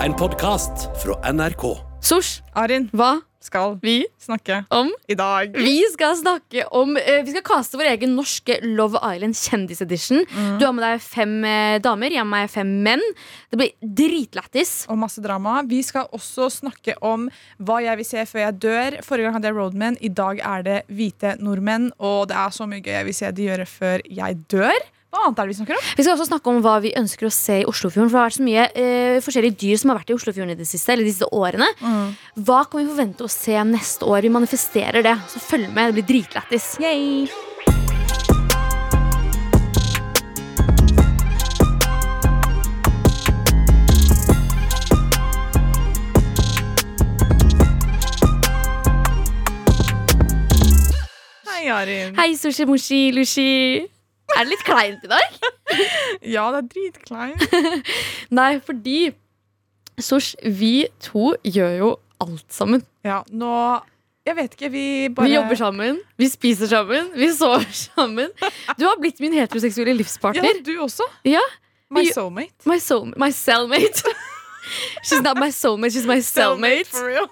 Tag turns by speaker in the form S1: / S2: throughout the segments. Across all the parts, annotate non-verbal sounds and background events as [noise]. S1: En podcast fra NRK.
S2: Sosh,
S3: Arin,
S2: hva
S3: skal
S2: vi
S3: snakke
S2: om?
S3: i dag.
S2: Vi skal snakke om eh, Vi skal kaste vår egen norske Love Island kjendisedition. Du har med deg fem eh, damer, jeg har med meg fem menn. Det blir dritlættis.
S3: Og masse drama. Vi skal også snakke om hva jeg vil se før jeg dør. Forrige gang hadde jeg Roadmen, i dag er det hvite nordmenn. Og det er så mye gøy jeg vil se de gjøre før jeg dør. Hva annet er det vi snakker om?
S2: Vi skal også snakke om hva vi ønsker å se i Oslofjorden. For det har vært så mye eh, forskjellige dyr som har vært i Oslofjorden i det siste, eller disse årene. Hva kan vi forvente å se neste år? Vi manifesterer det. Så følg med. Det blir dritlættis.
S3: Hei, Arin.
S2: Hei, Sushi Moshi Lushi. Er det litt kleint i dag?
S3: Ja, det er dritkleint.
S2: Nei, fordi Sosh, vi to gjør jo alt sammen.
S3: Ja, nå Jeg vet ikke, vi bare
S2: Vi jobber sammen, vi spiser sammen, vi sover [laughs] sammen. Du har blitt min heteroseksuelle
S3: Ja,
S2: livspartner.
S3: du også?
S2: Ja.
S3: My
S2: Vi-
S3: soulmate.
S2: My, soul, my
S3: [laughs]
S2: cellmate. She's not my soulmate, she's my cellmate.
S3: for real.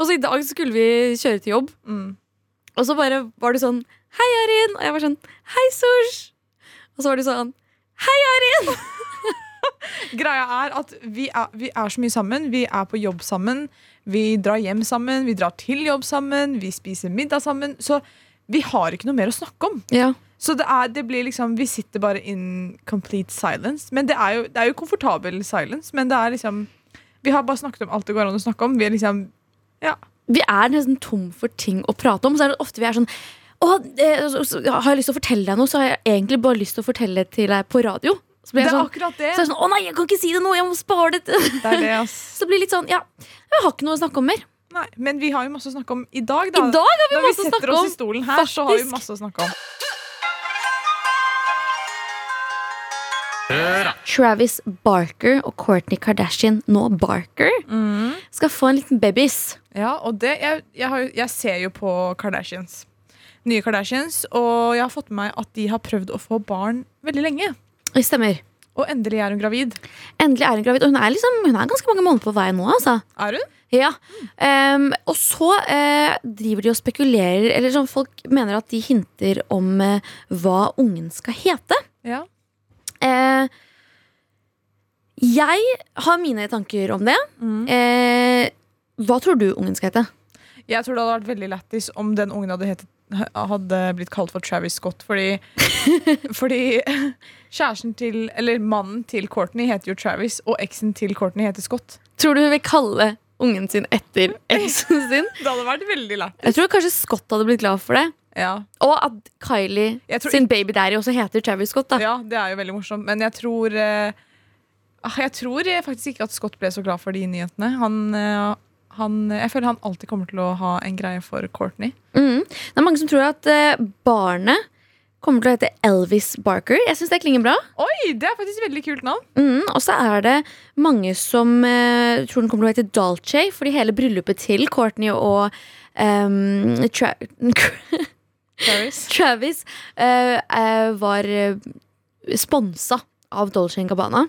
S2: Og så i dag skulle vi kjøre til jobb,
S3: Mm.
S2: og så bare var du sånn Hei, Arin. Og jeg var sånn Hei, Sosh. Og så var du sånn
S3: Greia er at vi er, vi er så mye sammen. Vi er på jobb sammen. Vi drar hjem sammen. Vi drar til jobb sammen. Vi spiser middag sammen. Så vi har ikke noe mer å snakke om.
S2: Ja.
S3: Så det, er, det blir liksom Vi sitter bare in complete silence. Men det er jo, det er jo komfortabel silence. Men det er liksom Vi har bare snakket om alt det går an å snakke om. Vi er liksom Ja.
S2: vi er nesten tom for ting å prate om. Så er det ofte vi er sånn å, eh, så- så Har jeg lyst til å fortelle deg noe, så har jeg egentlig bare lyst til å fortelle det til deg på radio. Så
S3: Det
S2: blir jeg
S3: er
S2: sånn, så
S3: akkurat
S2: er
S3: det.
S2: jeg sånn Å nei, jeg kan ikke si det sånn- nå! Jeg må spare det. [laughs] til-»
S3: Det er det, ass.
S2: Så blir det litt sånn Ja, jeg har ikke noe å snakke om mer.
S3: Nei, men vi har jo masse å snakke om i dag, da.
S2: I dag har vi
S3: Når vi
S2: masse å
S3: setter
S2: snakke
S3: oss i
S2: om.
S3: stolen her, så har vi
S2: Faktisk.
S3: masse å snakke om.
S2: Travis Barker og Courtney Kardashian, nå Barker,
S3: Mm.
S2: skal få en liten babys.
S3: Ja, og det, jeg, jeg, har, jo- jeg ser jo på Kardashians. Nye Kardashians. Og jeg har fått med meg at de har prøvd å få barn veldig lenge.
S2: Oi, stemmer.
S3: Og endelig er hun gravid.
S2: Endelig er hun gravid. Og hun er, liksom, hun er ganske mange måneder på vei nå, altså.
S3: Er hun?
S2: Ja, ehm, Og så eh, driver de og spekulerer Eller sånn, folk mener at de hinter om eh, hva ungen skal hete.
S3: Ja.
S2: Eh, jeg har mine tanker om det.
S3: Mm.
S2: Eh, hva tror du ungen skal hete?
S3: Jeg tror det hadde vært veldig lættis om den ungen hadde, hetet, hadde blitt kalt for Travis Scott. [laughs] Fordi, fordi kjæresten til, eller mannen til Courtney heter jo Travis, og eksen til Courtney heter Scott.
S2: Tror du hun vil kalle ungen sin [laughs] etter eksen sin?
S3: Det hadde vært veldig lættis.
S2: Jeg tror kanskje Scott hadde blitt glad for det.
S3: Ja.
S2: Og at Kylie
S3: Jeg tror
S2: sin baby daddy også heter Travis Scott.
S3: [laughs]
S2: da
S3: Ja, det er jo veldig morsomt. Men jeg tror eh, ah, Jeg tror eh, faktisk ikke at Scott ble så glad for de nyhetene. Han, eh, han, jeg føler han alltid kommer til å ha en greie for Courtney.
S2: Mm. Det er mange som tror at eh, barnet kommer til å hete Elvis Barker. Jeg syns det klinger bra.
S3: Oi, det er faktisk et veldig kult navn!
S2: Mm, og så er det mange som eh, tror den kommer til å hete Dolce, fordi hele bryllupet til Courtney og ehm, tra [laughs]
S3: Paris.
S2: Travis eh, eh, var eh, sponsa av Dolce Gabbana.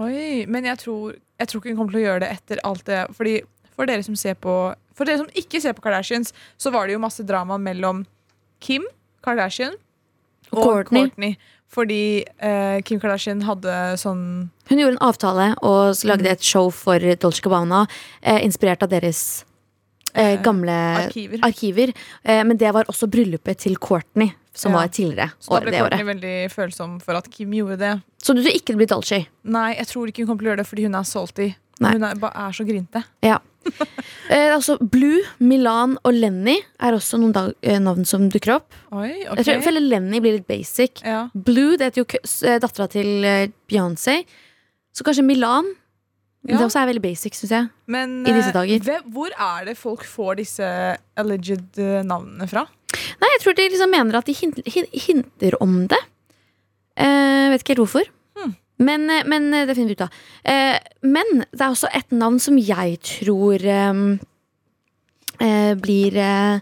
S3: Oi, men jeg tror, jeg tror ikke hun kommer til å gjøre det etter alt det Fordi For dere som ser på For dere som ikke ser på Kardashians, så var det jo masse drama mellom Kim Kardashian og
S2: Kourtney.
S3: Courtney. Fordi eh, Kim Kardashian hadde sånn
S2: Hun gjorde en avtale og så
S3: Mm.
S2: lagde et show for Dolce Gabbana, eh, inspirert av deres eh,
S3: Eh,
S2: gamle
S3: arkiver.
S2: arkiver. Eh, men det var også bryllupet til Courtney, som
S3: Ja.
S2: var tidligere.
S3: Så da
S2: år,
S3: ble
S2: det året.
S3: Courtney veldig følsom for at Kim gjorde det.
S2: Så du tror ikke det blir Dolce?
S3: Nei, jeg tror ikke hun kommer til å gjøre det fordi hun er salty.
S2: Nei.
S3: Hun er, bare er så grinte.
S2: Ja. Eh, altså Blue, Milan og Lenny er også noen dag, eh, navn som dukker opp.
S3: Oi,
S2: Jeg
S3: ok.
S2: tror jeg føler Lenny blir litt basic.
S3: Ja.
S2: Blue det heter jo kø- s- eh, dattera til eh, Beyoncé. Så kanskje Milan.
S3: Ja.
S2: Det også er veldig basic, syns jeg.
S3: Men
S2: I disse
S3: eh,
S2: dager.
S3: hvem- hvor er det folk får disse alleged eh, navnene fra?
S2: Nei, jeg tror de liksom mener at de hint, hin- hinter om det. Eh, vet ikke helt hvorfor.
S3: Hmm.
S2: Men, eh, men eh, det finner vi ut av. Eh, men det er også et navn som jeg tror eh, eh, blir eh,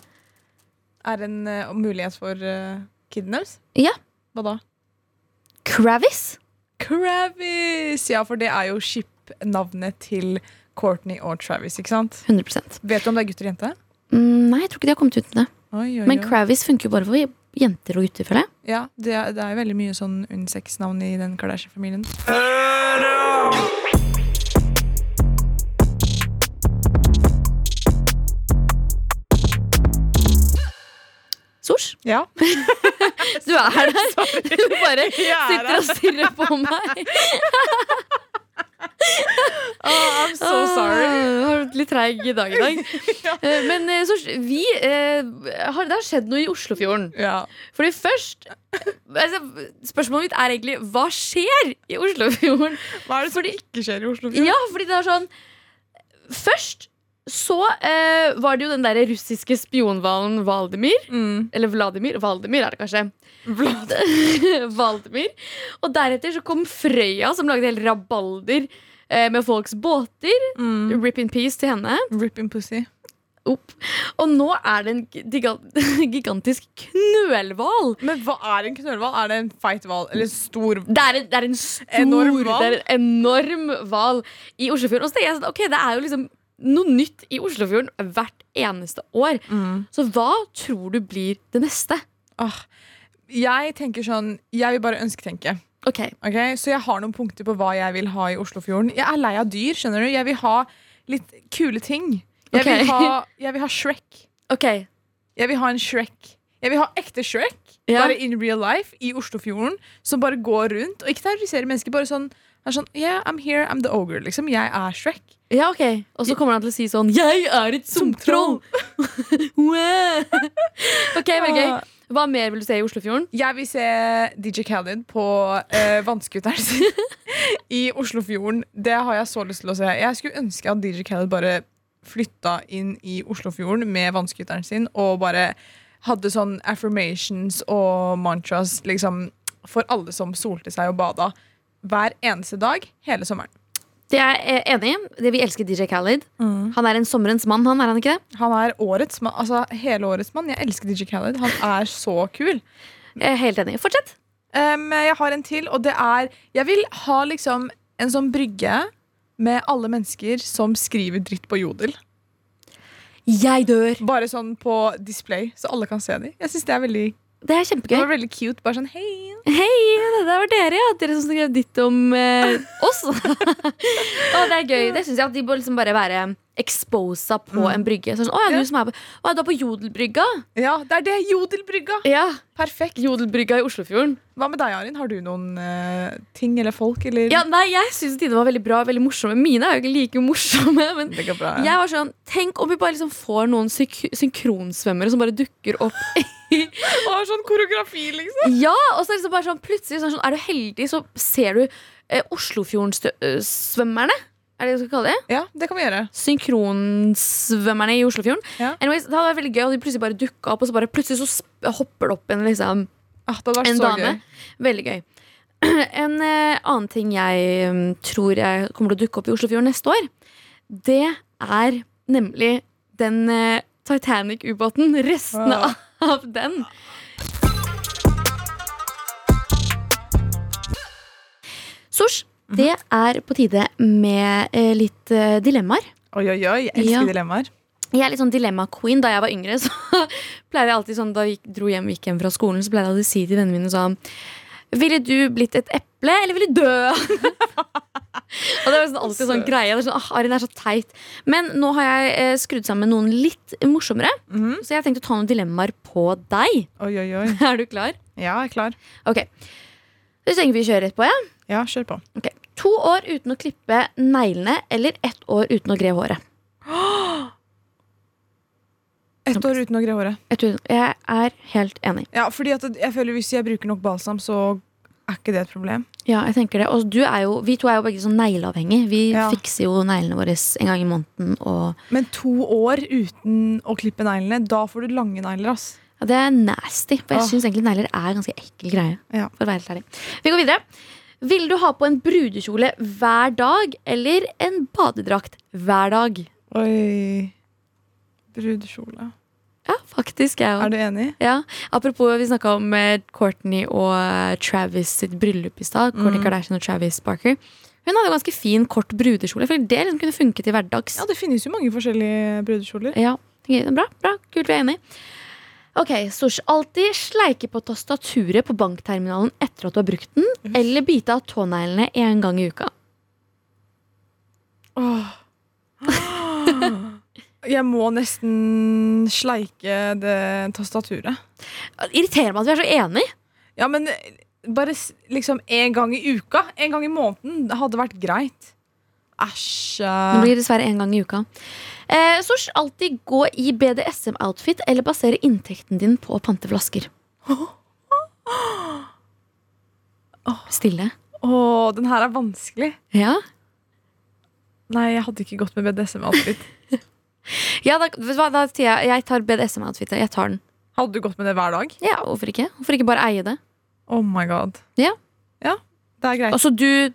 S3: Er en eh, mulighet for uh, kiden deres?
S2: Ja.
S3: Hva da?
S2: Kravis.
S3: Kravis! Ja, for det er jo skip, opp navnet til Courtney og Travis. ikke sant?
S2: 100
S3: Vet du om det er gutt eller jente?
S2: mm, Nei, jeg tror ikke de har kommet ut med det.
S3: Oi, oi,
S2: Men
S3: oi.
S2: Kravis funker jo bare for jenter og gutter, føler jeg.
S3: Ja, det er, det er veldig mye sånn unisex-navn i den Kardashian-familien.
S2: Sosh,
S3: Ja.
S2: du er her der! [laughs] Du
S3: [laughs]
S2: bare
S3: Jeg er
S2: sitter og
S3: her.
S2: stirrer på meg.
S3: Oh, I'm [laughs] so sorry.
S2: Ah, Har vært litt treig i dag i dag.
S3: [laughs] Ja.
S2: Eh, Men eh, Sosh, vi eh, har, Det har skjedd noe i Oslofjorden.
S3: Ja.
S2: Fordi først altså, Spørsmålet mitt er egentlig hva skjer i Oslofjorden?
S3: Hva er det som ikke skjer i Oslo?
S2: Ja, fordi det er sånn Først så eh, var det jo den der russiske spionhvalen Valdemir.
S3: Mm.
S2: Eller Vladimir. Valdemir er det kanskje. [laughs] Valdemir. Og deretter så kom Frøya, som lagde helt rabalder eh, med folks båter.
S3: Mm.
S2: Rip in peace til henne.
S3: Rip in pussy.
S2: Opp. Og nå er det en giga- [laughs] gigantisk knølhval.
S3: Men hva er en knølhval? Er det en feit hval? Eller en stor
S2: Det er en, det er en stor,
S3: Enorm hval.
S2: det er en enorm hval i Oslofjorden. Og så tenker jeg sånn, ok, det er jo liksom noe nytt i Oslofjorden hvert eneste år.
S3: Mm.
S2: Så hva tror du blir det neste?
S3: Ah. Jeg tenker sånn Jeg vil bare ønsketenke.
S2: Ok,
S3: ok? Så jeg har noen punkter på hva jeg vil ha i Oslofjorden. Jeg er lei av dyr. skjønner du Jeg vil ha litt kule ting. Jeg,
S2: Ok.
S3: vil, ha, jeg vil ha Shrek.
S2: ok,
S3: Jeg vil ha en Shrek. Jeg vil ha ekte Shrek,
S2: Ja.
S3: bare in real life, i Oslofjorden. Som bare går rundt og ikke terroriserer mennesker. Bare sånn, er sånn Yeah, I'm here, I'm the ogre. liksom Jeg er Shrek.
S2: ja ok. Og så kommer han til å si sånn, jeg er et sumtroll! [laughs] Wow. ok, veldig gøy. Hva mer vil du se i Oslofjorden?
S3: Jeg vil se DJ Khaled på eh, vannskuteren sin [laughs] i Oslofjorden. Det har jeg så lyst til å se. Jeg skulle ønske at DJ Khaled bare flytta inn i Oslofjorden med vannskuteren sin og bare hadde sånn affirmations og mantras liksom, for alle som solte seg og bada. Hver eneste dag hele sommeren.
S2: Det er jeg enig i. Det Vi elsker DJ Khaled. Han er en sommerens mann, han, er han ikke det?
S3: Han er årets mann, altså hele årets mann. Jeg elsker DJ Khaled. Han er så kul.
S2: Jeg er Eh, helt enig. Fortsett.
S3: Um, jeg har en til, og det er Jeg vil ha liksom en sånn brygge med alle mennesker som skriver dritt på Jodel.
S2: Jeg dør.
S3: Bare sånn på display, så alle kan se dem. Jeg synes det er veldig,
S2: Det er
S3: det
S2: kjempegøy.
S3: var veldig cute. Bare sånn hei.
S2: Hei, det der var dere, ja. Dere som skrev ditt om eh, [laughs] oss. og det er gøy. Det syns jeg at de bør liksom bare være exposa på en brygge. Sånn, å, ja,
S3: Ja.
S2: du som er på, å, ja, du er på Jodelbrygga.
S3: Ja, det er det! Jodelbrygga!
S2: Ja,
S3: Perfekt.
S2: Jodelbrygga i Oslofjorden.
S3: Hva med deg, Arin? Har du noen eh, ting eller folk? Eller?
S2: Ja, nei, jeg syns dine var veldig bra veldig morsomme. Mine er jo ikke like morsomme. [laughs] Men
S3: Det går bra.
S2: jeg var sånn, tenk om vi bare liksom får noen syk synkronsvømmere som bare dukker opp. [laughs]
S3: har sånn koreografi, liksom.
S2: ja, og så er det liksom bare sånn plutselig sånn, sånn, Er du heldig, så ser du eh, Oslofjordsvømmerne. Er det det du skal kalle det?
S3: Ja, det kan vi gjøre.
S2: synkronsvømmerne i Oslofjorden.
S3: Ja.
S2: Anyways, det hadde vært veldig gøy, og de plutselig bare dukka opp, og så bare plutselig så sp- hopper det opp en, liksom,
S3: Ah, det hadde vært
S2: en
S3: så
S2: dame. Veldig gøy. [clears throat] En eh, annen ting jeg mm, tror jeg kommer til å dukke opp i Oslofjorden neste år, det er nemlig den eh, Titanic-ubåten. Restene
S3: Ah.
S2: av den. Sosh, det er på tide med eh, litt eh, dilemmaer.
S3: gøy. Oi, oi, oi. Jeg elsker
S2: Ja.
S3: dilemmaer.
S2: Jeg er litt sånn dilemma-queen. Da jeg var yngre, [laughs] så pleier jeg alltid sånn Da jeg gikk- dro hjem, gikk hjem fra skolen, så pleide jeg alltid å si til vennene mine sånn Ville du blitt et eple, eller ville du dø? [laughs] og det var sånn, alltid sånn
S3: Søt.
S2: greie. Det er sånn, ah, Arin er så teit. Men nå har jeg eh, skrudd sammen noen litt morsommere,
S3: Mhm.
S2: så jeg har tenkt å ta noen dilemmaer på deg. [laughs]
S3: Oi, oi, oi.
S2: Er du klar?
S3: Ja, jeg er klar.
S2: Ok. Så tenker vi kjører rett på, ja.
S3: Ja, kjør på.
S2: Ok. To år uten å klippe neglene, eller ett år uten å gre håret.
S3: Ett år uten å gre håret.
S2: Jeg tror- Jeg er helt enig.
S3: Ja, fordi at jeg føler Hvis jeg bruker nok balsam, så er ikke det et problem.
S2: Ja, jeg tenker det. Og du er jo, vi to er jo begge sånn negleavhengige. Vi
S3: Ja.
S2: fikser jo neglene våre en gang i måneden. Og
S3: Men to år uten å klippe neglene, da får du lange negler. ass
S2: ja, det er nasty. For jeg
S3: Åh.
S2: syns egentlig negler er en ganske ekkel greie.
S3: Ja.
S2: For å være helt ærlig. Vi går videre. Vil du ha på en brudekjole hver dag eller en badedrakt hver dag?
S3: Oi Brudekjole.
S2: Ja, faktisk. Jeg
S3: Er
S2: òg.
S3: du enig?
S2: Ja. Apropos, vi snakka
S3: Mm.
S2: om eh, Courtney og eh, Travis sitt bryllup i stad. Kourtney Kardashian og Travis Barker. Hun hadde ganske fin, kort brudekjole. For det liksom kunne funket i hverdags.
S3: Ja, det finnes jo mange forskjellige brudekjoler.
S2: Ja, tenker jeg. Bra, bra, kult, vi er enig. Ok, Sosh. Alltid sleike på tastaturet på bankterminalen etter at du har brukt den, eller bite av tåneglene én gang i uka.
S3: Åh. Jeg må nesten sleike det tastaturet.
S2: Det irriterer meg at vi er så enige.
S3: Ja, men eh, bare s- liksom en gang i uka. En gang i måneden. Det hadde vært greit. Æsj.
S2: Det
S3: eh.
S2: blir dessverre én gang i uka. Eh, Sosh, alltid gå i BDSM-outfit eller basere inntekten din på å pante flasker. Stille.
S3: Åh, den her er vanskelig.
S2: Ja,
S3: Nei, jeg hadde ikke gått med BDSM-outfit.
S2: ja da, vet du hva, da sier jeg jeg tar BDSM-outfitet. Jeg tar den.
S3: Hadde du gått med det hver dag?
S2: Ja, Hvorfor ikke? Hvorfor ikke bare eie det?
S3: Oh my god.
S2: Ja.
S3: Ja, det er greit.
S2: Altså, du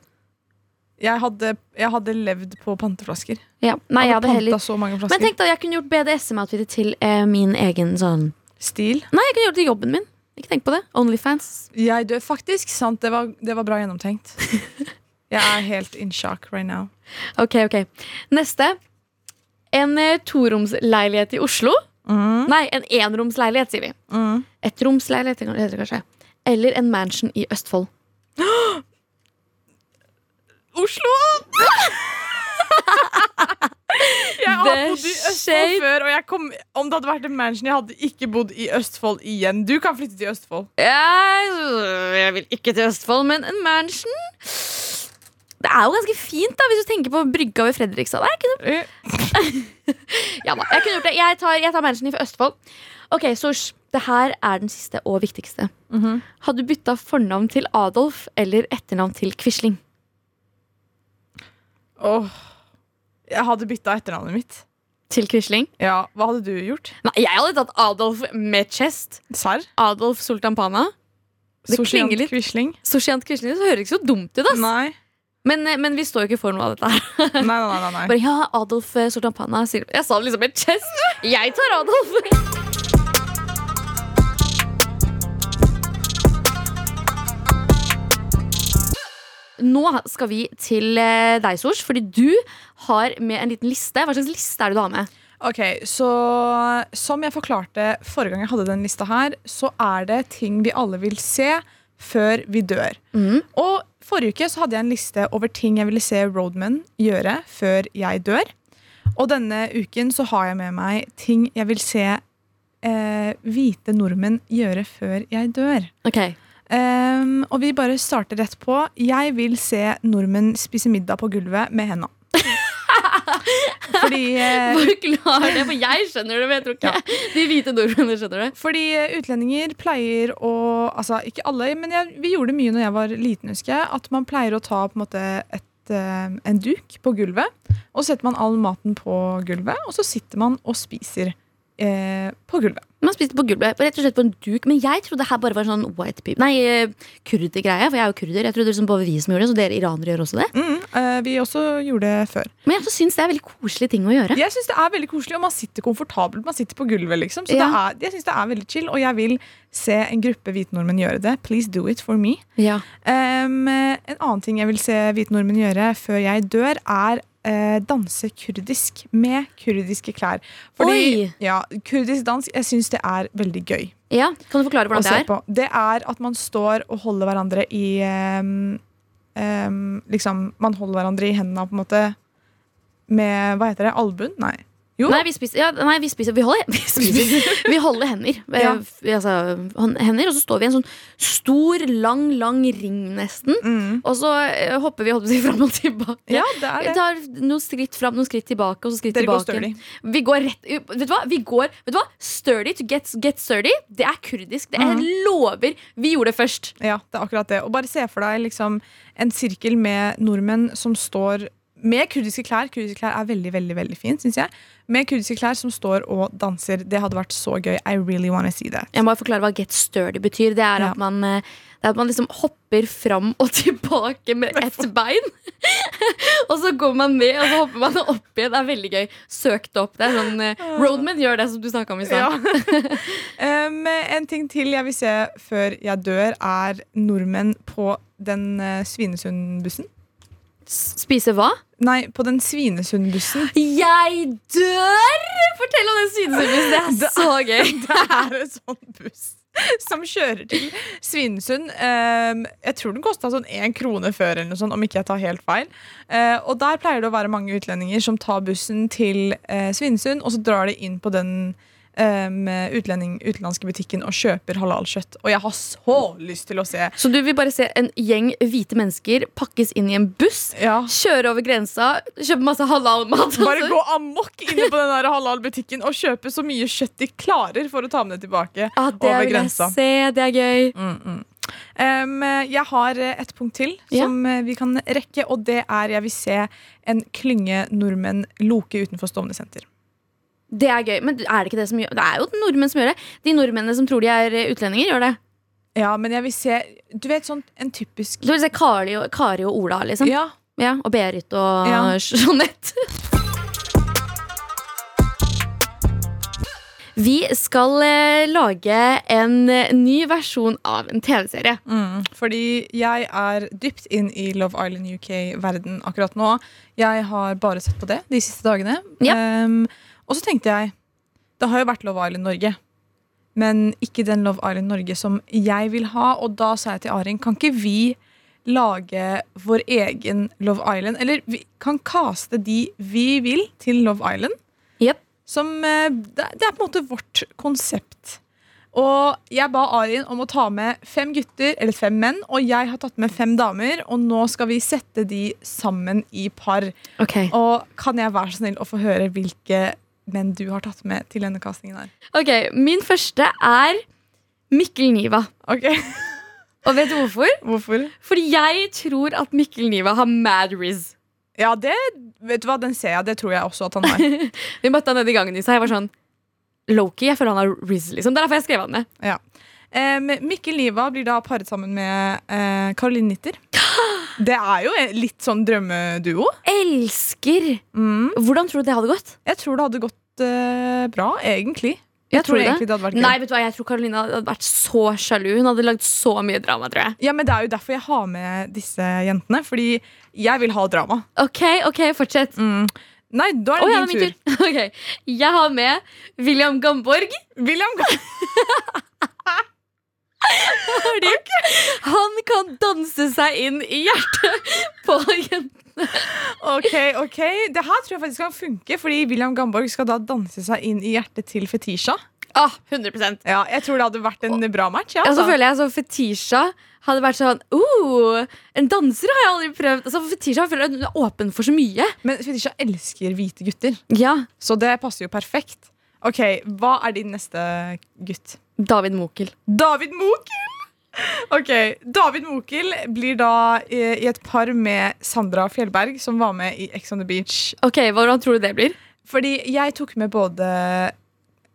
S3: Jeg hadde, jeg hadde levd på panteflasker.
S2: ja. Nei, jeg hadde
S3: panta
S2: heller
S3: så mange flasker.
S2: Men tenk da, jeg kunne gjort BDSM-outfitet til eh, min egen sånn
S3: Stil.
S2: Nei, jeg kunne gjort det til jobben min. Ikke tenk på det. Onlyfans.
S3: Jeg dør faktisk. Sant, det var, det var bra gjennomtenkt.
S2: [laughs]
S3: Jeg er helt in shock right now.
S2: Ok, ok. Neste. En eh, toromsleilighet i Oslo.
S3: Mm.
S2: Nei, en enromsleilighet, sier vi.
S3: Mm.
S2: Ettromsleilighet kan- heter det kanskje. Eller en mansion i [gasps] Østfold.
S3: Oslo! jeg har
S2: The
S3: bodd i Østfold
S2: shape.
S3: før, og jeg kom, om det hadde vært en mansion, jeg hadde ikke bodd i Østfold igjen. Du kan flytte til Østfold.
S2: Jeg, jeg vil ikke til Østfold, men en mansion Det er jo ganske fint, da, hvis du tenker på brygga ved Fredrikstad. Der kunne Ja da, jeg kunne gjort det. Jeg tar, jeg tar managen fra Østfold. Ok, Sosh. Det her er den siste og viktigste.
S3: Mhm.
S2: Hadde du bytta fornavn til Adolf eller etternavn til Quisling?
S3: Åh. Jeg hadde bytta etternavnet mitt.
S2: Til Quisling?
S3: Ja, Hva hadde du gjort?
S2: Nei, jeg hadde tatt Adolf med chest.
S3: Serr?
S2: Adolf Sultanpana. Det
S3: Sosiant
S2: klinger litt.
S3: Quisling?
S2: Sosiant Quisling det høres ikke så dumt ut, ass.
S3: Nei.
S2: Men, eh, men vi står jo ikke for noe av dette her.
S3: Nei, nei, nei, nei, nei.
S2: Bare ja, Adolf eh, Sultanpana. sier- Jeg sa det liksom med chest. Jeg tar Adolf. Nå skal vi til eh, deg, Sosh, fordi du har med en liten liste. Hva slags liste er det du har med?
S3: Ok, så Som jeg forklarte forrige gang jeg hadde den lista her, så er det ting vi alle vil se før vi dør.
S2: Mm.
S3: Og Forrige uke så hadde jeg en liste over ting jeg ville se Roadmen gjøre før jeg dør. Og denne uken så har jeg med meg ting jeg vil se eh, hvite nordmenn gjøre før jeg dør.
S2: Ok,
S3: Ehm, og vi bare starter rett på. Jeg vil se nordmenn spise middag på gulvet med henda. Fordi
S2: [laughs]
S3: eh,
S2: Bare klar det, for jeg skjønner det, men jeg tror ikke [laughs] de hvite nordmennene skjønner det.
S3: Fordi eh, utlendinger pleier å Altså ikke alle, men jeg, vi gjorde det mye når jeg var liten, husker jeg. At man pleier å ta på en måte et, eh, en duk på gulvet, og så setter man all maten på gulvet, og så sitter man og spiser eh, på gulvet.
S2: Man spiste på gulvet, rett og slett på en duk, men jeg trodde det her bare var en sånn white people Nei, eh, kurdergreie, for jeg er jo kurder. Jeg trodde det liksom bare var vi som gjorde det, så dere iranere gjør også det.
S3: Mm, eh, vi også gjorde det før.
S2: Men jeg også syns det er veldig koselige ting å gjøre.
S3: Jeg syns det er veldig koselig, og man sitter komfortabelt. Man sitter på gulvet, liksom. Så
S2: Ja.
S3: det er, jeg synes det er veldig chill, og jeg vil se en gruppe hvite nordmenn gjøre det. Please do it for me.
S2: Ja.
S3: Em, en annen ting jeg vil se hvite nordmenn gjøre før jeg dør, er eh, danse kurdisk med kurdiske klær.
S2: Oi!
S3: Ja, kurdisk dans jeg syns det er veldig gøy
S2: Kan du forklare
S3: å
S2: hvordan det
S3: se
S2: er?
S3: på. Det er at man står og holder hverandre i em, em, Liksom, man holder hverandre i hendene på en måte med Hva heter det? Albuen? Nei. Jo.
S2: Nei, vi spiser, ja, nei, vi spiser Vi holder, [laughs] vi spiser, vi holder hender. Eh,
S3: Ja.
S2: f- Altså, hånd- hender. Og så står vi i en sånn stor, lang, lang ring, nesten.
S3: Mm.
S2: Og så eh, hopper vi holdt på å si, fram og tilbake.
S3: Ja,
S2: Vi
S3: det er det.
S2: tar noen skritt fram, noen skritt tilbake. Og så skritt
S3: Dere går
S2: tilbake.
S3: sturdy.
S2: Vi går rett Vet du hva? Vi går, vet du hva? Sturdy to get, get sturdy. Det er kurdisk. Det er, jeg lover. Vi gjorde det først.
S3: Ja, det er akkurat det. Og bare se for deg liksom, en sirkel med nordmenn som står med kurdiske klær. Kurdiske klær er veldig veldig, veldig fint, synes jeg. Med kurdiske klær som står og danser. Det hadde vært så gøy. I really wanna see that.
S2: Jeg må bare forklare hva get sturdy betyr. Det er
S3: Ja.
S2: at man, eh, det er at man liksom hopper fram og [laughs] tilbake med ett bein. [laughs] og så går man ned, og så hopper man opp igjen. Det er veldig gøy. Søk det opp. Det er sånn, eh, Roadman gjør det som du snakka om i
S3: Ah. Ja.
S2: stad.
S3: [laughs] um, en ting til jeg vil se før jeg dør, er nordmenn på den eh, Svinesund-bussen.
S2: Spise hva?
S3: Nei, på den Svinesundbussen.
S2: Jeg dør! Fortell om den sydenservice. Det er så
S3: [laughs]
S2: gøy.
S3: Det er en sånn buss som kjører til Svinesund. Ehm, jeg tror den kosta sånn én krone før, eller noe sånt, om ikke jeg tar helt feil. Eh, og der pleier det å være mange utlendinger som tar bussen til eh, Svinesund, og så drar de inn på den ehm, utlending, utenlandske butikken og kjøper halalkjøtt. Og jeg har så lyst til å se.
S2: Så du vil bare se en gjeng hvite mennesker pakkes inn i en buss,
S3: Ja.
S2: kjøre over grensa, kjøpe masse halalmat. [laughs]
S3: Bare
S2: altså.
S3: gå amok inne på den der halalbutikken og kjøpe så mye kjøtt de klarer for å ta med det tilbake
S2: Ja, det
S3: over
S2: vil jeg
S3: grensa.
S2: se. Det er gøy.
S3: Mm, mm. Um, jeg har eh, et punkt til
S2: Ja.
S3: som eh, vi kan rekke, og det er jeg vil se en klynge nordmenn loke utenfor Stovner senter.
S2: Det er gøy, Men er det ikke det som gjør Det er jo nordmenn som gjør det. De nordmennene som tror de er eh, utlendinger, gjør det.
S3: Ja, men jeg vil se Du vet sånn en typisk
S2: Du vil se Kari og, Kari og Ola, liksom.
S3: Ja,
S2: Ja, og Berit og
S3: Ja.
S2: [laughs] Jeanette. Vi skal eh, lage en eh, ny versjon av en TV-serie.
S3: mm. Fordi jeg er dypt inn i Love Island UK-verden akkurat nå. Jeg har bare sett på det de siste dagene.
S2: Ja.
S3: Um, og så tenkte jeg Det har jo vært Love Island Norge. Men ikke den Love Island Norge som jeg vil ha. Og da sa jeg til Arin, kan ikke vi lage vår egen Love Island? Eller vi kan kaste de vi vil til Love Island.
S2: Jep.
S3: Som, eh, det det er på en måte vårt konsept. Og jeg ba Arin om å ta med fem gutter, eller fem menn, og jeg har tatt med fem damer. Og nå skal vi sette de sammen i par. Og kan jeg være så snill å få høre hvilke menn du har tatt med til denne castingen her?
S2: ok, Min første er Mikkel Niva.
S3: Ok, [laughs]
S2: Og vet du hvorfor?
S3: Hvorfor?
S2: Fordi jeg tror at Mikkel Niva har mad riz.
S3: Ja, det, vet du hva, den ser jeg. Det tror jeg også at han [laughs] har.
S2: Vi møtte han nede i gangen i stad. Jeg var sånn Loki, jeg føler han har riz, liksom. Det er derfor jeg skrev han ned.
S3: Ja. Em, Mikkel Niva blir da paret sammen med eh, Caroline Nitter. [gasps] Det er jo en litt sånn drømmeduo.
S2: Elsker!
S3: Mm.
S2: Hvordan tror du det hadde gått?
S3: Jeg tror det hadde gått eh, bra, egentlig.
S2: Jeg tror
S3: tror
S2: det.
S3: egentlig det hadde vært gøy.
S2: Nei, vet du hva, jeg tror Karoline hadde vært så sjalu. Hun hadde lagd så mye drama, tror jeg.
S3: Ja, men Det er jo derfor jeg har med disse jentene. Fordi jeg vil ha drama.
S2: Ok, ok, fortsett.
S3: Nei, da
S2: Å,
S3: er det
S2: ja, det
S3: din
S2: er
S3: tur.
S2: Mm. min tur. [laughs] Ok. Jeg har med William Gamborg.
S3: William
S2: [laughs]
S3: Gahr-
S2: Fordi han kan danse seg inn i hjertet [laughs] på jentene.
S3: Ok, ok. Det her tror jeg faktisk kan funke, fordi William Gamborg skal da danse seg inn i hjertet til Fetisha.
S2: Ah, 100
S3: Ja, jeg tror det hadde vært en bra match. Ja,
S2: Ja, så
S3: altså.
S2: føler jeg så Fetisha hadde vært sånn oh, En danser har jeg aldri prøvd. Altså, Fetisha føler at hun er åpen for så mye.
S3: Men Fetisha elsker hvite gutter,
S2: Ja,
S3: så det passer jo perfekt. Ok, Hva er din neste gutt?
S2: David Mokel.
S3: David Mokel! Ok, David Mokel blir da eh, i et par med Sandra Fjellberg, som var med i Ex on the Beach.
S2: Ok, Hvordan tror du det blir?
S3: Fordi jeg tok med både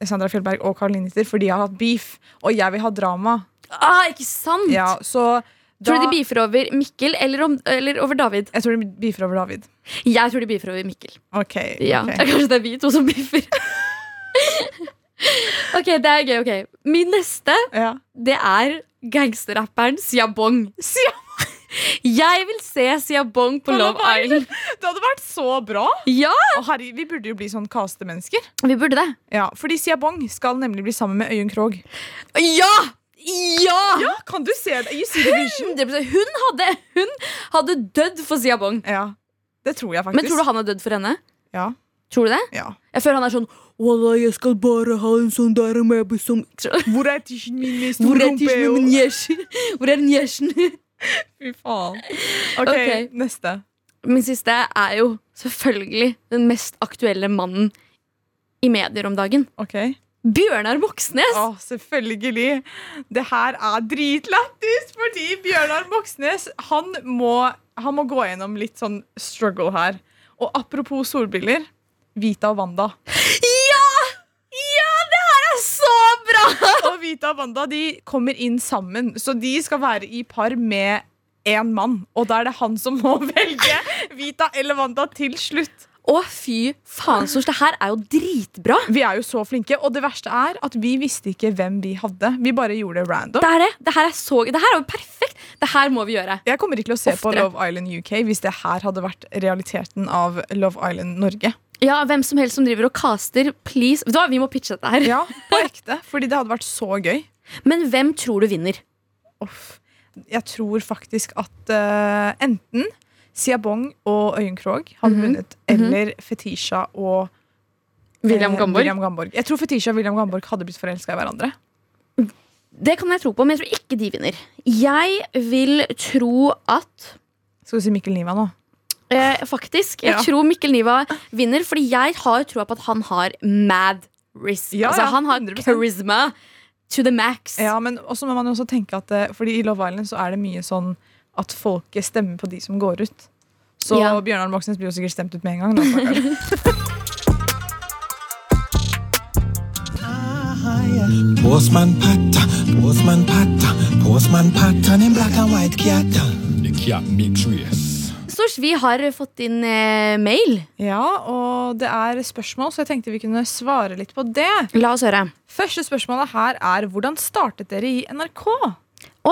S3: Sandra Fjellberg og Caroline Nitter fordi jeg har hatt beef, og jeg vil ha drama.
S2: Ah, ikke sant?
S3: Ja, så
S2: Tror du
S3: da-
S2: de beefer over Mikkel eller, om, eller over David?
S3: Jeg tror de beefer over David.
S2: Jeg tror de beefer over Mikkel.
S3: Ok,
S2: Ja, det
S3: ok.
S2: er [laughs] Kanskje det er vi to som beefer. [laughs] ok, det er gøy. ok Min neste
S3: Ja.
S2: det er gangsterrapperen Sia Bong. Jeg vil se Sia Bong på,
S3: På Love
S2: Love Island. [laughs]
S3: Det hadde vært så bra!
S2: Ja,
S3: Og herri, vi burde jo bli sånn kastemennesker.
S2: Vi burde det.
S3: Ja, fordi Sia Bong skal nemlig bli sammen med Øyunn Krogh.
S2: Ja! Ja!
S3: Ja, kan du se det? You see the vision.
S2: 100%. Hun hadde, hun hadde dødd for Sia Bong.
S3: Ja, det tror jeg faktisk.
S2: Men tror du han er dødd for henne?
S3: Ja.
S2: Tror du det?
S3: ja.
S2: Jeg føler han er sånn Walla, jeg skal bare ha en sånn der med som [laughs]
S3: Hvor er tissen min med stor
S2: Hvor er
S3: rumpe
S2: tissen
S3: og-
S2: min, Njesj? [laughs] Hvor er njesjen?
S3: Fy faen.
S2: Ok.
S3: ok, neste.
S2: Min siste er jo selvfølgelig den mest aktuelle mannen i medier om dagen.
S3: Ok.
S2: Bjørnar Moxnes!
S3: Å, selvfølgelig. Det her er dritlættis, fordi Bjørnar Moxnes han må, han må gå gjennom litt sånn struggle her. Og apropos solbriller. Vita og Wanda. [laughs]
S2: Ja! Ja, det her er så bra!
S3: Og Vita og Wanda de kommer inn sammen, så de skal være i par [laughs] med én mann. Og da er det han som må velge Vita eller Wanda til slutt.
S2: Å, fy faen, Sors, det her er jo dritbra!
S3: Vi er jo så flinke, og det verste er at vi visste ikke hvem vi hadde. Vi bare gjorde det random.
S2: Det er det. Det her er så Det her er jo perfekt! Det her må vi gjøre.
S3: Jeg kommer ikke til å se på
S2: Oftere.
S3: Love Island UK hvis det her hadde vært realiteten av Love Island Norge.
S2: Ja, hvem som helst som driver og caster, please. Vet du hva, vi må pitche dette her.
S3: Ja, På ekte. Fordi det hadde vært så gøy.
S2: Men hvem tror du vinner?
S3: Uff. Jeg tror faktisk at eh, enten Sia Bong og Øyunn Krogh hadde
S2: Mhm.
S3: vunnet, eller Fetisha og eh, William Gamborg. Jeg tror Fetisha og William Gamborg hadde blitt forelska i hverandre.
S2: Det kan jeg tro på, men jeg tror ikke de vinner. Jeg vil tro at
S3: Skal du si Mikkel Niva nå?
S2: eh, Faktisk. Jeg
S3: Ja.
S2: tror Mikkel Niva vinner, fordi jeg har troa på at han har mad risk.
S3: Ja,
S2: altså,
S3: ja,
S2: han har
S3: 100%.
S2: charisma to the max.
S3: Ja, men også må man jo også tenke at eh, Fordi i Love Island så er det mye sånn at folket stemmer på de som går ut. Så
S2: Ja.
S3: Bjørnar Moxnes blir jo sikkert stemt ut med en gang.
S2: [laughs]
S3: Da, stakkar.
S4: Postman Pata, Postman Pata, Postman Pata in black and white cat.
S5: You can't mix race.
S2: Stors, vi har fått inn eh, mail.
S3: ja, og det er spørsmål, så jeg tenkte vi kunne svare litt på det.
S2: La oss høre.
S3: Første spørsmålet her er hvordan startet dere i NRK?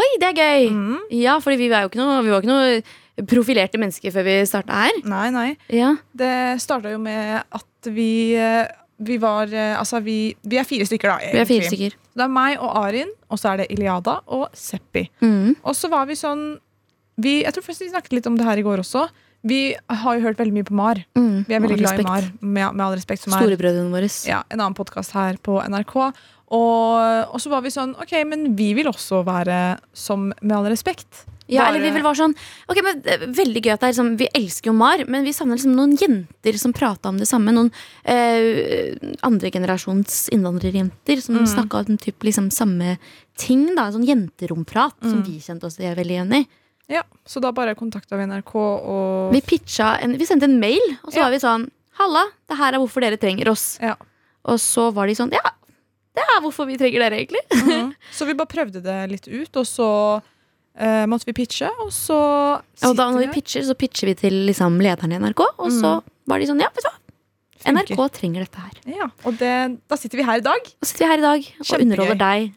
S2: Oi, det er gøy!
S3: Mm.
S2: Ja, fordi vi var jo ikke noe, vi var ikke noe profilerte mennesker før vi starta her.
S3: Nei, nei.
S2: Ja.
S3: Det starta jo med at vi eh, Vi var eh, Altså, vi, vi er fire stykker, da.
S2: Vi er fire
S3: egentlig.
S2: stykker.
S3: Det er meg og Arin, og så er det Iliada og Seppi.
S2: Mm.
S3: Og så var vi sånn vi, Jeg tror faktisk vi snakket litt om det her i går også. Vi har jo hørt veldig mye på Mar.
S2: Mm.
S3: Vi er veldig
S2: Med all
S3: glad i
S2: respekt.
S3: Mar, med, med all respekt. Som er
S2: Storebrødrene våre.
S3: ja, en annen podkast her på NRK. Og, og så var vi sånn OK, men vi vil også være som Med all respekt.
S2: Ja, eller vi
S3: Bare-
S2: vil være sånn Ok, men det er Veldig gøy at det er liksom Vi elsker jo Mar, men vi savner liksom noen jenter som prata om det samme. Noen eh, andregenerasjons innvandrerjenter
S3: Mm.
S2: som snakket snakka om typ, liksom, samme ting. da Sånn jenteromprat
S3: Mm.
S2: som vi kjente oss er veldig igjen i.
S3: Ja, Så da bare kontakta vi NRK og
S2: Vi, pitcha en, vi sendte en mail, og så
S3: Ja.
S2: var vi sånn Halla, det her er hvorfor dere trenger oss.
S3: Ja.
S2: Og så var de sånn Ja, det er hvorfor vi trenger dere,
S3: [laughs]
S2: egentlig.
S3: Mhm. Så vi bare prøvde det litt ut, og så eh, måtte vi pitche, og så
S2: Og da når
S3: her.
S2: vi pitcher, så pitcher vi til liksom, lederen i NRK, og så var de sånn Ja, vet du hva,
S3: Mm. Funker.
S2: NRK trenger dette her.
S3: Ja, og det, da sitter vi her i dag
S2: Og sitter vi her i dag og
S3: Kjempegøy.
S2: underholder deg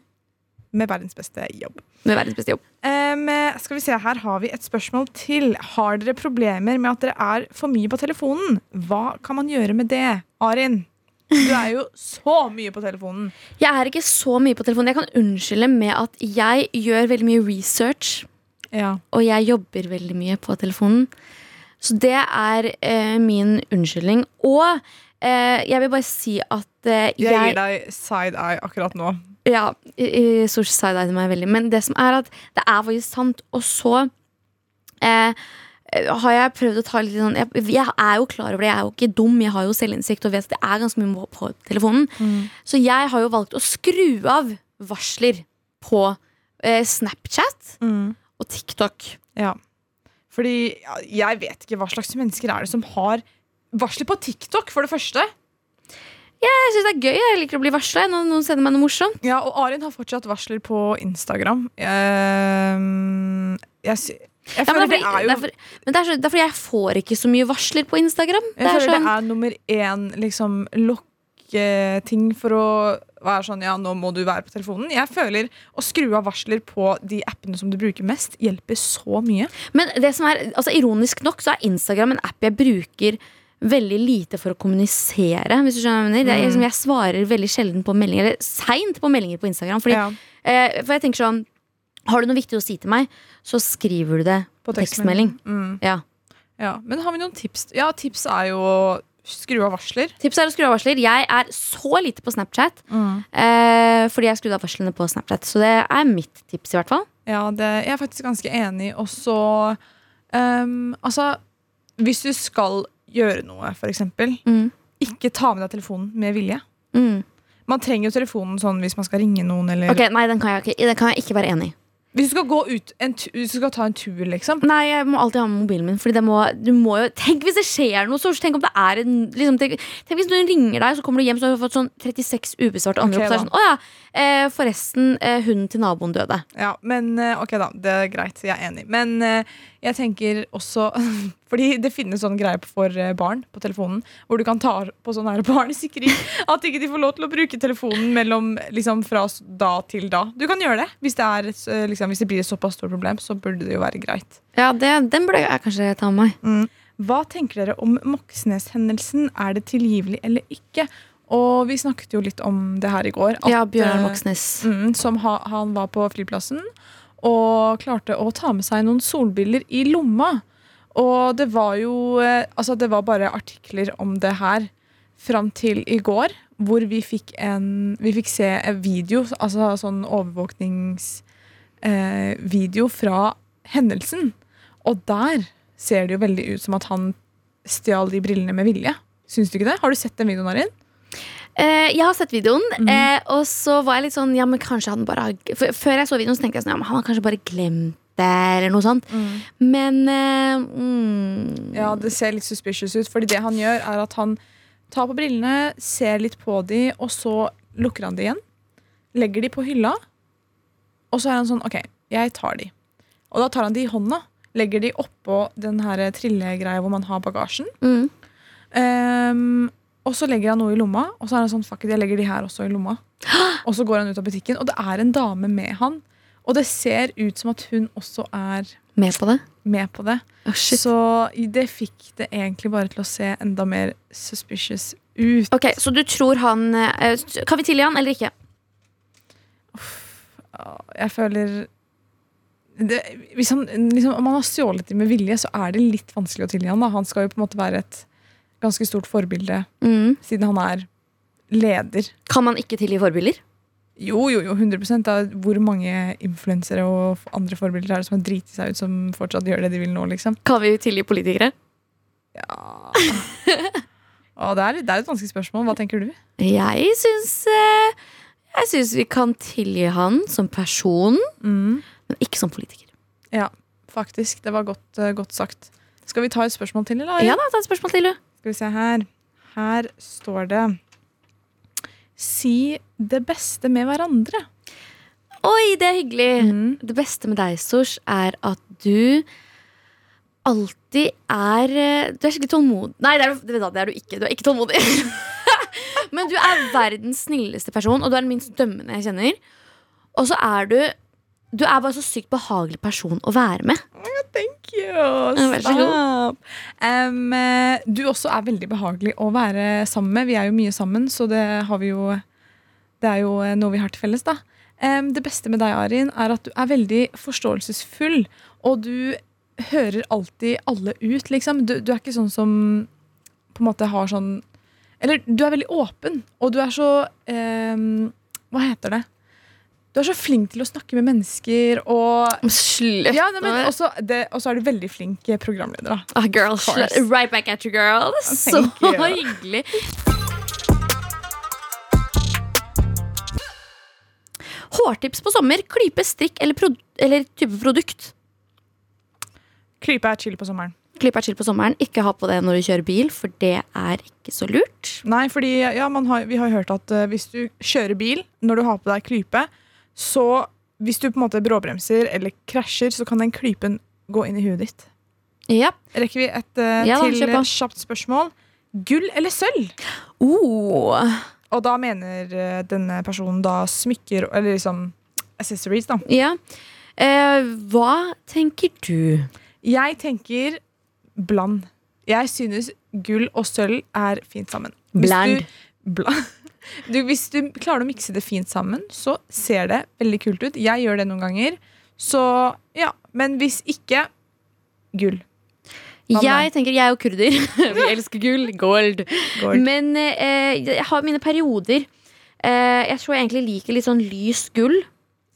S3: med verdens beste jobb.
S2: med verdens beste jobb.
S3: Em, eh, skal vi se, Her har vi et spørsmål til. Har dere problemer med at dere er for mye på telefonen? Hva kan man gjøre med det? Arin, du er jo så mye på telefonen.
S2: Jeg er ikke så mye på telefonen. Jeg kan unnskylde med at jeg gjør veldig mye research,
S3: Ja.
S2: og jeg jobber veldig mye på telefonen. Så det er eh, min unnskyldning. Og eh, jeg vil bare si at eh,
S3: Jeg, gir
S2: jeg
S3: deg side eye akkurat nå.
S2: Ja, i- i- Sosh side eide meg veldig. Men det som er at det er faktisk sant. Og så eh, har jeg prøvd å ta litt sånn jeg, jeg er jo klar over det, jeg er jo ikke dum, jeg har jo selvinnsikt og vet at det er ganske mye på telefonen.
S3: Mm.
S2: Så jeg har jo valgt å skru av varsler på eh, Snapchat og TikTok.
S3: Ja. Fordi ja, jeg vet ikke hva slags mennesker er det som har varsler på TikTok, for det første.
S2: Jeg syns det er gøy. Jeg liker å bli varsla når noen sender meg noe morsomt.
S3: Ja, og Arin har fortsatt varsler på Instagram. Ehm, jeg sy jeg
S2: Ja, men,
S3: føler
S2: det er
S3: det er
S2: fordi,
S3: jo
S2: det er fordi, men det er så, det er fordi jeg får ikke så mye varsler på Instagram.
S3: Jeg
S2: det er
S3: føler
S2: sånn,
S3: det er nummer én liksom lokketing for å være sånn ja, nå må du være på telefonen. Jeg føler å skru av varsler på de appene som du bruker mest, hjelper så mye.
S2: Men det som er, altså ironisk nok så er Instagram en app jeg bruker veldig lite for å kommunisere. Hvis du skjønner hva Jeg, mener. Det er, liksom, jeg svarer veldig sjelden på meldinger, eller seint på meldinger på Instagram. Fordi,
S3: Ja.
S2: eh, for jeg tenker sånn Har du noe viktig å si til meg, så skriver du det på
S3: På
S2: tekstmelding.
S3: tekstmelding. Mm.
S2: Ja.
S3: Ja. Men har vi noen tips? Ja, tips er jo å skru av varsler.
S2: Tips er å skru av varsler. Jeg er så lite på Snapchat eh, fordi jeg skrudde av varslene på Snapchat. Så det er mitt tips, i hvert fall.
S3: Ja, det, jeg er faktisk ganske enig. Og så ehm, Altså, hvis du skal gjøre noe, for eksempel,
S2: Mm.
S3: ikke ta med deg telefonen med vilje.
S2: Mm.
S3: Man trenger jo telefonen sånn hvis man skal ringe noen, eller
S2: Ok, Nei, den kan, jeg ikke, den kan jeg ikke være enig i.
S3: Hvis du skal gå ut en tu, Hvis du skal ta en tur, liksom.
S2: Nei, jeg må alltid ha med mobilen min. Fordi det må, du må jo, tenk hvis det skjer noe! Så, tenk, om det er en, liksom, tenk, tenk hvis noen ringer deg, så kommer du hjem Så har du fått sånn 36 ubesvarte anrop.
S3: Ok,
S2: så er
S3: da.
S2: det sånn, å ja, eh, forresten, eh, hunden til naboen døde.
S3: Ja, men eh, ok, da. Det er greit. Jeg er enig. Men eh, Jeg tenker også [laughs] Fordi det finnes sånn greie for eh, barn på telefonen, hvor du kan ta på sånn her [laughs] barnesikring. At ikke de får lov til å bruke telefonen mellom, liksom, fra s- da til da. Du kan gjøre det. Hvis det, er, et s- eh, liksom, hvis det blir et såpass stort problem, så burde det jo være greit.
S2: Ja, det, Den burde jeg kanskje ta med meg.
S3: Hva tenker dere om Moxnes-hendelsen? Er det tilgivelig eller ikke? Og vi snakket jo litt om det her i går. at,
S2: Ja, Bjørnar
S3: eh,
S2: Moxnes.
S3: Mm, som ha, han var på flyplassen og klarte å ta med seg noen solbriller i lomma. Og det var jo eh, Altså, det var bare artikler om det her fram til i går, hvor vi fikk en Vi fikk se en video, altså sånn overvåkningsvideo eh, video fra hendelsen. Og der ser det jo veldig ut som at han stjal de brillene med vilje. Syns du ikke det? Har du sett den videoen, Arin?
S2: Eh, jeg har sett videoen, eh, og så var jeg litt sånn Ja, men kanskje han bare har for, Før jeg så videoen, så tenkte jeg sånn Ja, men han har kanskje bare glemt det, eller noe sånt. Men eh, mm,
S3: Ja, det ser litt suspicious ut. Fordi det han gjør, er at han tar på brillene, ser litt på de, og så lukker han de igjen. Legger de på hylla, og så er han sånn OK, jeg tar de. Og da tar han de i hånda. Legger de oppå den her trillegreia hvor man har bagasjen.
S2: mm.
S3: Ehm, og så legger han noe i lomma, og så er han sånn fuck it, jeg legger de her også i lomma. Og så går han ut av butikken, og det er en dame med han. Og det ser ut som at hun også er
S2: Med på det?
S3: med på det.
S2: Å, shit.
S3: Så det fikk det egentlig bare til å se enda mer suspicious ut.
S2: Ok, Så du tror han eh, Kan vi tilgi han eller ikke?
S3: Jeg føler det, hvis han, liksom, Om han har stjålet dem med vilje, så er det litt vanskelig å tilgi han da. Han skal jo på en måte være et ganske stort forbilde,
S2: Mm.
S3: siden han er leder.
S2: Kan man ikke tilgi forbilder?
S3: Jo, jo, jo, 100 da. Hvor mange influensere og f- andre forbilder er det som har driti seg ut, som fortsatt gjør det de vil nå, liksom?
S2: Kan vi tilgi politikere? [laughs]
S3: Ja. Og det, er, det er et vanskelig spørsmål. Hva tenker du?
S2: Jeg syns eh, Jeg syns vi kan tilgi han som person,
S3: Mm.
S2: men ikke som politiker.
S3: Faktisk. Det var godt, eh, godt sagt. Skal vi ta et spørsmål til, eller?
S2: Ja da, ta et spørsmål til, du.
S3: Skal vi se her. Her står det Si det beste med hverandre.
S2: Oi, det er hyggelig!
S3: Mm.
S2: Det beste med deg, Sosh, er at du alltid er eh, Du er skikkelig tålmodig. Nei, det er, du- vet du hva, det er du ikke. Du er ikke tålmodig. [laughs] Men du er verdens snilleste person, og du er den minst dømmende jeg kjenner. Og så er du Du er bare så sykt behagelig person å være med.
S3: Thank you!
S2: Ja, vær så
S3: Stop! Em, eh, du også er veldig behagelig å være sammen med. Vi er jo mye sammen, så det har vi jo Det er jo eh, noe vi har til felles, da. Em, det beste med deg, Arin, er at du er veldig forståelsesfull, og du hører alltid alle ut, liksom. Du, du er ikke sånn som på en måte har sånn Eller du er veldig åpen, og du er så em, Hva heter det? Du er så flink til å snakke med mennesker, og
S2: Slutt!
S3: ja, nei, men også, det, også er du veldig flink programleder. da
S2: Ah, girl,
S3: course.
S2: sl- right back at you, girl. Så
S3: thank you.
S2: [laughs] hyggelig. Hårtips på sommer. Klype, strikk eller, pro eller type produkt.
S3: Klype er chill på sommeren.
S2: Klype er chill på sommeren. Ikke ha på det når du kjører bil, for det er ikke så lurt.
S3: Nei, fordi ja, man har, Vi har hørt at eh, hvis du kjører bil når du har på deg klype, så hvis du på en måte bråbremser eller krasjer, så kan den klypen gå inn i huet ditt.
S2: Ja.
S3: Rekker vi et eh,
S2: Ja da,
S3: til
S2: kjør på.
S3: eh, kjapt spørsmål? Gull eller sølv?
S2: Oh.
S3: Og da mener eh, denne personen da smykker eller liksom accessories, da.
S2: ja. Eh, hva tenker du?
S3: Jeg tenker bland. Jeg synes gull og sølv er fint sammen. Hvis
S2: Bland.
S3: Du, bland. [laughs] Du, hvis du klarer å mikse det fint sammen, så ser det veldig kult ut. Jeg gjør det noen ganger. Så ja. Men hvis ikke gull. Hva med
S2: Jeg tenker, jeg er jo kurder. [laughs] Vi elsker gull. Gold.
S3: Gold.
S2: Men eh, jeg har mine perioder. Eh, jeg tror jeg egentlig liker litt sånn lys gull.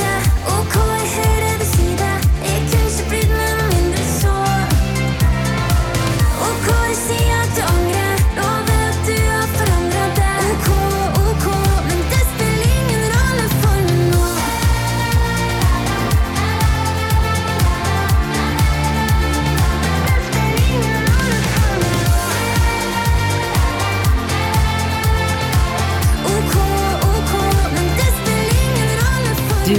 S6: det. OK, jeg hører det si det. Jeg kunne ikke blitt med noe mindre så. OK, de sier at du angrer. Lover at du har forandret deg. OK, OK, men det spiller ingen rolle for nå.
S7: Du